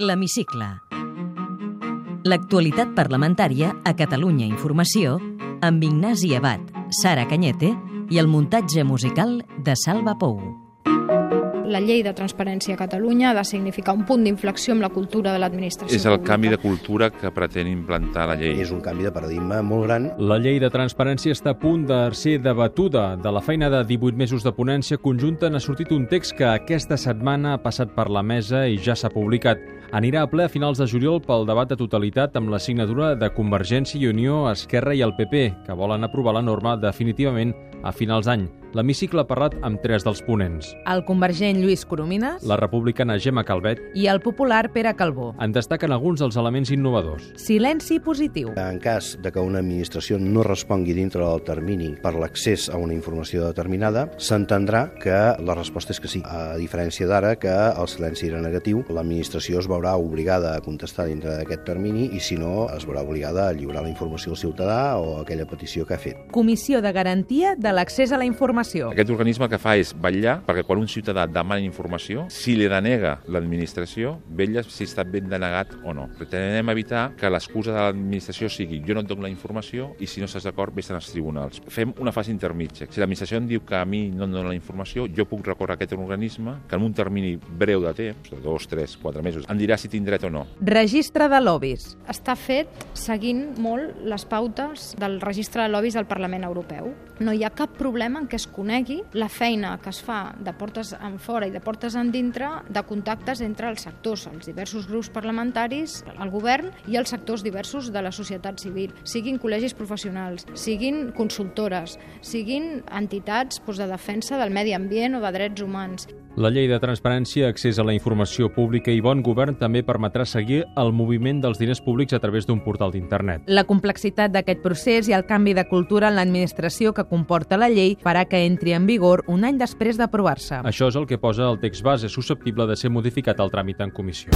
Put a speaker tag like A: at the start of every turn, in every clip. A: L'Hemicicle. L'actualitat parlamentària a Catalunya Informació amb Ignasi Abad, Sara Canyete i el muntatge musical de Salva Pou.
B: La llei de transparència a Catalunya ha de significar un punt d'inflexió amb la cultura de l'administració
C: És el
B: pública.
C: canvi de cultura que pretén implantar la llei.
D: És un canvi de paradigma molt gran.
E: La llei de transparència està a punt de ser debatuda. De la feina de 18 mesos de ponència conjunta n'ha sortit un text que aquesta setmana ha passat per la mesa i ja s'ha publicat. Anirà a ple a finals de juliol pel debat de totalitat amb la signatura de Convergència i Unió, Esquerra i el PP, que volen aprovar la norma definitivament a finals d'any. L'hemicicle ha parlat amb tres dels ponents.
F: el convergent Lluís Coromines
E: La republicana Gemma Calvet
F: i el popular Pere Calbó.
E: en destaquen alguns dels elements innovadors.
F: Silenci positiu.
D: En cas de que una administració no respongui dintre del termini per l'accés a una informació determinada, s'entendrà que la resposta és que sí. A diferència d'ara, que el silenci era negatiu, l'administració es veurà obligada a contestar dintre d'aquest termini i, si no, es veurà obligada a lliurar la informació al ciutadà o aquella petició que ha fet.
F: Comissió de Garantia de l'Accés a la Informació.
C: Aquest organisme el que fa és vetllar perquè quan un ciutadà demana informació, si li denega l'administració, vetlla si està ben denegat o no. Pretenem evitar que l'excusa de l'administració sigui jo no et dono la informació i si no estàs d'acord vés als tribunals. Fem una fase intermitja. Si l'administració em diu que a mi no em dona la informació, jo puc recórrer a aquest organisme que en un termini breu de temps, de dos, tres, quatre mesos, em dirà si tinc dret o no.
F: Registre de lobbies.
B: està fet seguint molt les pautes del registre de lobbies del Parlament Europeu. No hi ha cap problema en què es conegui la feina que es fa de portes en fora i de portes en dintre de contactes entre els sectors, els diversos grups parlamentaris, el govern i els sectors diversos de la societat civil, siguin col·legis professionals, siguin consultores, siguin entitats doncs, de defensa del medi ambient o de drets humans.
E: La llei de transparència, accés a la informació pública i bon govern també permetrà seguir el moviment dels diners públics a través d'un portal d'internet.
F: La complexitat d'aquest procés i el canvi de cultura en l'administració que comporta la llei farà que entri en vigor un any després d'aprovar-se.
E: Això és el que posa el text base susceptible de ser modificat al tràmit en comissió.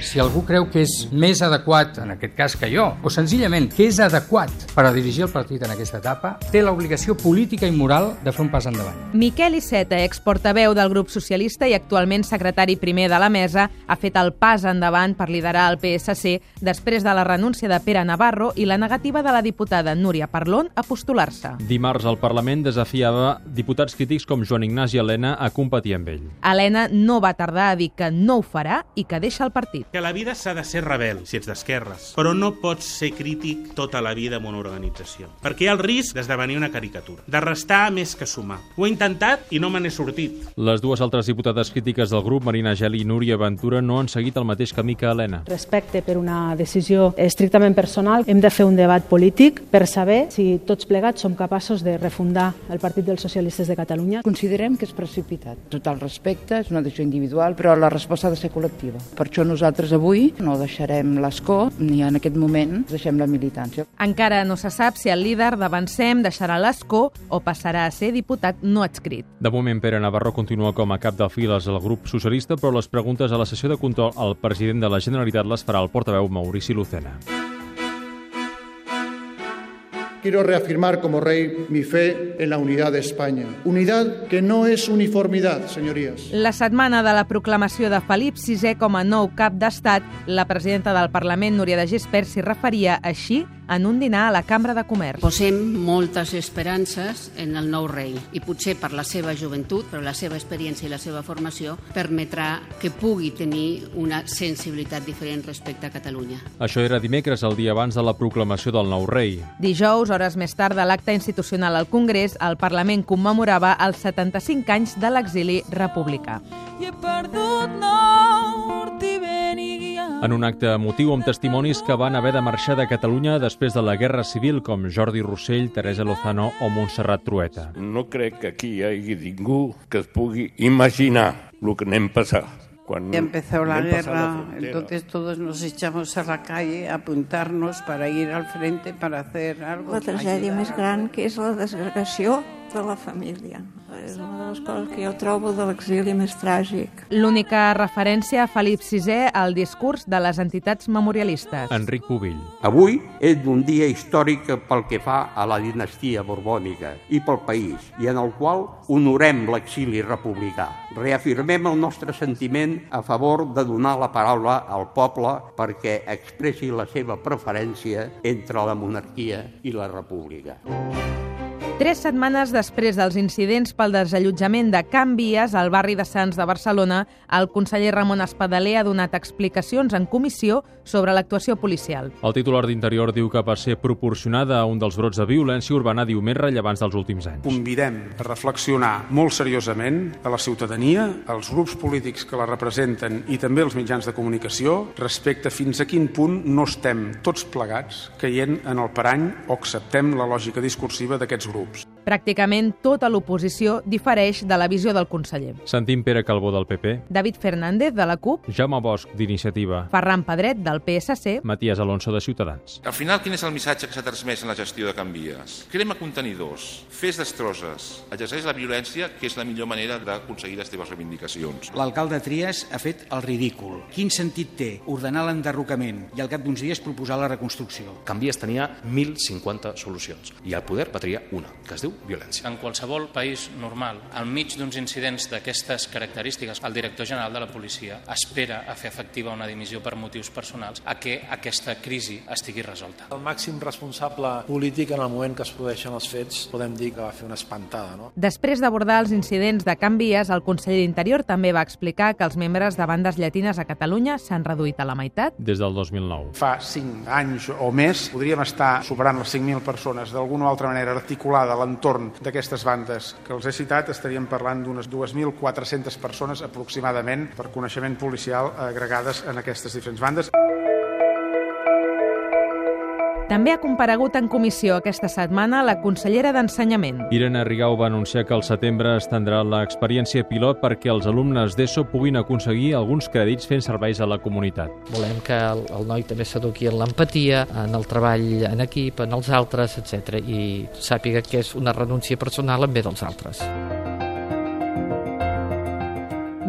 G: Si algú creu que és més adequat, en aquest cas que jo, o senzillament que és adequat per a dirigir el partit en aquesta etapa, té l'obligació política i moral de fer un pas endavant.
F: Miquel Iceta, exportaveu del grup socialista i actualment secretari primer de la mesa, ha fet el pas endavant per liderar el PSC després de la renúncia de Pere Navarro i la negativa de la diputada Núria Parlon a postular-se.
E: Dimarts, el Parlament desafiava diputats crítics com Joan Ignasi Helena a competir amb ell.
F: Helena no va tardar a dir que no ho farà i que deixa el partit.
H: Que la vida s'ha de ser rebel, si ets d'esquerres, però no pots ser crític tota la vida amb una organització, perquè hi ha el risc d'esdevenir una caricatura, de restar més que sumar. Ho he intentat i no me n'he sortit.
E: Les dues altres diputades crítiques del grup, Marina Geli i Núria Ventura, no han seguit el mateix camí que Helena.
I: respecte per una decisió estrictament personal, hem de fer un debat polític per saber si tots plegats som capaços de refundar el Partit dels Socialistes de Catalunya.
J: Considerem que és precipitat. Tot el respecte, és una decisió individual, però la resposta ha de ser col·lectiva. Per això nosaltres avui no deixarem l'escó, ni en aquest moment deixem la militància.
F: Encara no se sap si el líder d'Avancem deixarà l'escó o passarà a ser diputat no adscrit.
E: De moment, Pere Navarro continua com a cap de files al grup socialista, però les preguntes a la sessió de control al president de la Generalitat les farà el portaveu Maurici Lucena.
K: Quiero reafirmar como rey mi fe en la unidad de España. Unidad que no es uniformidad, señorías.
F: La setmana de la proclamació de Felip VI com a nou cap d'estat, la presidenta del Parlament, Núria de Gispert, s'hi referia així en un dinar a la Cambra de Comerç.
L: Posem moltes esperances en el nou rei i potser per la seva joventut, però la seva experiència i la seva formació permetrà que pugui tenir una sensibilitat diferent respecte a Catalunya.
E: Això era dimecres, el dia abans de la proclamació del nou rei.
F: Dijous, hores més tard de l'acte institucional al Congrés, el Parlament commemorava els 75 anys de l'exili republicà.
I: I he perdut nord i vent i guia.
E: En un acte emotiu amb testimonis que van haver de marxar de Catalunya després de la Guerra Civil, com Jordi Rossell, Teresa Lozano o Montserrat Trueta.
H: No crec que aquí hi hagi ningú que es pugui imaginar el que anem passar. Quan
J: Empezó la guerra, entonces todos nos echamos a la calle a apuntarnos para ir al frente, para hacer algo.
I: La tragèdia més gran que és la desagregació
M: de la família. És una de les coses que jo trobo de l'exili més tràgic.
F: L'única referència a Felip VI al discurs de les entitats memorialistes.
E: Enric Pubill.
N: Avui és un dia històric pel que fa a la dinastia borbònica i pel país, i en el qual honorem l'exili republicà. Reafirmem el nostre sentiment a favor de donar la paraula al poble perquè expressi la seva preferència entre la monarquia i la república.
F: Tres setmanes després dels incidents pel desallotjament de Can Vies al barri de Sants de Barcelona, el conseller Ramon Espadaler ha donat explicacions en comissió sobre l'actuació policial.
E: El titular d'Interior diu que va ser proporcionada a un dels brots de violència urbana diu més rellevants dels últims anys.
O: Convidem a reflexionar molt seriosament a la ciutadania, als grups polítics que la representen i també als mitjans de comunicació respecte a fins a quin punt no estem tots plegats caient en el parany o acceptem la lògica discursiva d'aquests grups grups.
F: Pràcticament tota l'oposició difereix de la visió del conseller.
E: Sentim Pere Calbó del PP,
F: David Fernández, de la CUP,
E: Jaume Bosch, d'Iniciativa,
F: Ferran Pedret, del PSC,
E: Matías Alonso, de Ciutadans.
P: Al final, quin és el missatge que s'ha transmès en la gestió de canvies? Crema contenidors, fes destrosses, exerceix la violència, que és la millor manera d'aconseguir les teves reivindicacions.
Q: L'alcalde Trias ha fet el ridícul. Quin sentit té ordenar l'enderrocament i al cap d'uns dies proposar la reconstrucció?
R: Canvies tenia 1.050 solucions i el poder patria una, que es diu violència.
S: En qualsevol país normal, al mig d'uns incidents d'aquestes característiques, el director general de la policia espera a fer efectiva una dimissió per motius personals a que aquesta crisi estigui resolta.
T: El màxim responsable polític en el moment que es produeixen els fets podem dir que va fer una espantada. No?
F: Després d'abordar els incidents de Can Vies, el conseller d'Interior també va explicar que els membres de bandes llatines a Catalunya s'han reduït a la meitat
E: des del 2009.
O: Fa 5 anys o més podríem estar superant les 5.000 persones d'alguna o altra manera articulada a l'entorn d'aquestes bandes que els he citat, estaríem parlant d'unes 2.400 persones aproximadament per coneixement policial agregades en aquestes diferents bandes.
F: També ha comparegut en comissió aquesta setmana la consellera d'Ensenyament.
E: Irene Rigau va anunciar que al setembre es tindrà l'experiència pilot perquè els alumnes d'ESO puguin aconseguir alguns crèdits fent serveis a la comunitat.
U: Volem que el, el noi també s'eduqui en l'empatia, en el treball en equip, en els altres, etc. i sàpiga que és una renúncia personal en bé dels altres.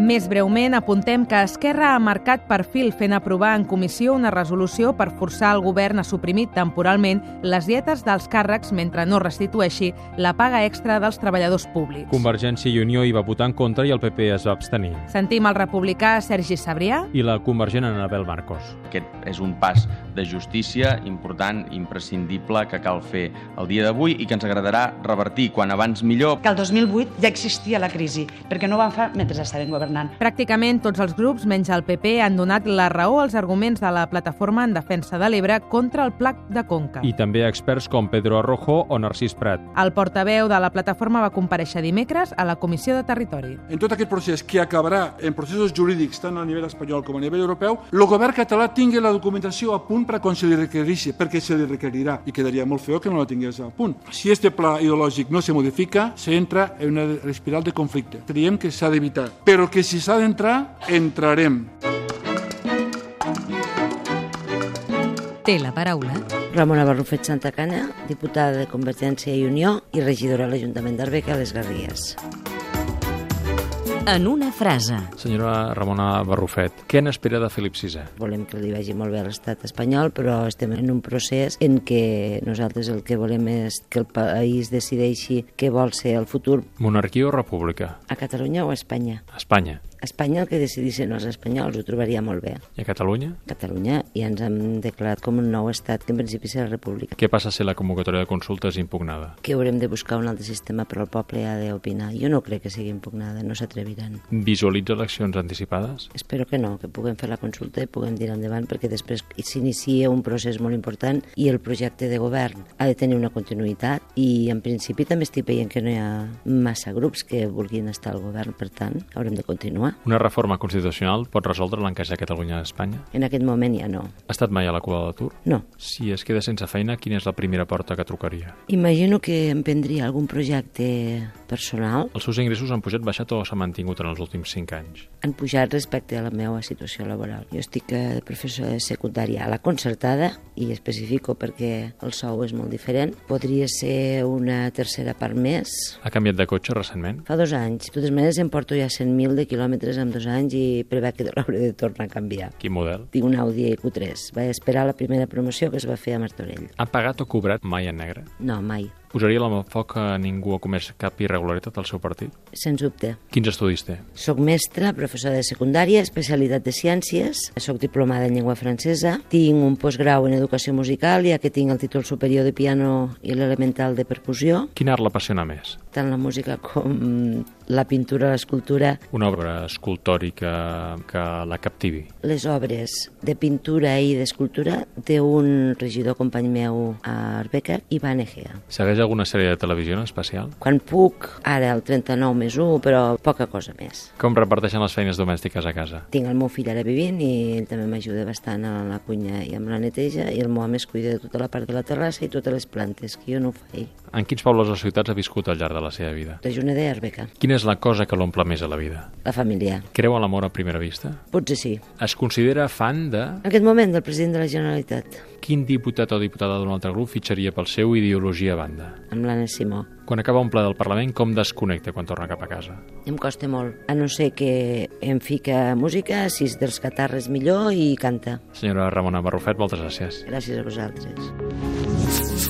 F: Més breument, apuntem que Esquerra ha marcat perfil fent aprovar en comissió una resolució per forçar el govern a suprimir temporalment les dietes dels càrrecs mentre no restitueixi la paga extra dels treballadors públics.
E: Convergència i Unió hi va votar en contra i el PP es va abstenir.
F: Sentim el republicà Sergi Sabrià
E: i la convergent Anabel Marcos.
V: Aquest és un pas de justícia important, imprescindible, que cal fer el dia d'avui i que ens agradarà revertir quan abans millor.
W: Que el 2008 ja existia la crisi, perquè no ho van fer mentre estaven governant governant.
F: Pràcticament tots els grups, menys el PP, han donat la raó als arguments de la plataforma en defensa de l'Ebre contra el Pla de Conca.
E: I també experts com Pedro Arrojo o Narcís Prat.
F: El portaveu de la plataforma va compareixer dimecres a la Comissió de Territori.
X: En tot aquest procés, que acabarà en processos jurídics tant a nivell espanyol com a nivell europeu, el govern català tingui la documentació a punt per quan se li requereixi, perquè se li requerirà i quedaria molt feo que no la tingués a punt. Si este pla ideològic no se modifica, se entra en una espiral de conflicte. Creiem que s'ha d'evitar, però que si s'ha d'entrar, entrarem.
A: Té la paraula
Y: Ramona Barrufet Santacana, diputada de Convergència i Unió i regidora a l'Ajuntament d'Arbeca a les Garrigues.
A: En una frase.
E: Senyora Ramona Barrufet, què n'espera de Felip VI?
Y: Volem que li vagi molt bé a l'estat espanyol, però estem en un procés en què nosaltres el que volem és que el país decideixi què vol ser el futur.
E: Monarquia o república?
Y: A Catalunya o a Espanya?
E: A Espanya.
Y: A Espanya el que decidissin els espanyols ho trobaria molt bé.
E: I a Catalunya?
Y: A Catalunya ja ens hem declarat com un nou estat que en principi serà república.
E: Què passa si la convocatòria de consulta és impugnada?
Y: Que haurem de buscar un altre sistema, però el poble ha d'opinar. Jo no crec que sigui impugnada, no s'atreviran.
E: Visualitza eleccions anticipades?
Y: Espero que no, que puguem fer la consulta i puguem tirar endavant perquè després s'inicia un procés molt important i el projecte de govern ha de tenir una continuïtat i en principi també estic veient que no hi ha massa grups que vulguin estar al govern, per tant haurem de continuar.
E: Una reforma constitucional pot resoldre l'encaix de Catalunya a Espanya?
Y: En aquest moment ja no.
E: Ha estat mai a la cua de l'atur?
Y: No.
E: Si es queda sense feina, quina és la primera porta que trucaria?
Y: Imagino que em prendria algun projecte personal
E: Els seus ingressos han pujat, baixat o s'ha mantingut en els últims 5 anys?
Y: han pujat respecte a la meva situació laboral. Jo estic eh, de professora de secundària a la concertada, i especifico perquè el sou és molt diferent, podria ser una tercera part més,
E: Ha canviat de cotxe recentment?
Y: Fa dos anys. De totes maneres, em porto ja 100.000 de quilòmetres en dos anys i preveu que l'hauré de tornar a canviar.
E: Quin model?
Y: Tinc un Audi Q3. Vaig esperar la primera promoció que es va fer a Martorell.
E: Ha pagat o cobrat mai en negre?
Y: No, mai.
E: Posaria la mà al foc que ningú ha comès cap irregularitat al seu partit?
Y: Sens dubte.
E: Quins estudis té?
Y: Soc mestra, professora de secundària, especialitat de ciències, soc diplomada en llengua francesa, tinc un postgrau en educació musical, ja que tinc el títol superior de piano i l'elemental de percussió,
E: Quin art l'apassiona més?
Y: tant la música com la pintura, l'escultura,
E: Una obra escultòrica que la captivi.
Y: les obres de pintura i d'escultura d'un regidor company meu a Arbeca, Ivan Egea.
E: Segueix alguna sèrie de televisió en especial?
Y: Quan puc, ara el 39 més 1, però poca cosa més.
E: Com reparteixen les feines domèstiques a casa?
Y: Tinc el meu fill ara vivint i ell també m'ajuda bastant a la cuina i amb la neteja i el meu home es cuida de tota la part de la terrassa i totes les plantes, que jo no ho fa ell.
E: En quins pobles o ciutats ha viscut al llarg de la seva vida?
Y: De Juneda i Arbeca,
E: Quina és la cosa que l'omple més a la vida?
Y: la família.
E: Creu en l'amor a primera vista?
Y: Potser sí.
E: Es considera fan de...
Y: En aquest moment, del president de la Generalitat,
E: Quin diputat o diputada d'un altre grup fitxaria pel seu ideologia a banda?
Y: amb l'Anna Simó.
E: Quan acaba un ple del Parlament, com desconnecta quan torna cap a casa?
Y: Em costa molt, a no ser que em fica música, si és dels catarres millor, i canta.
E: Senyora Ramona Barrufet, moltes gràcies.
Y: Gràcies a vosaltres.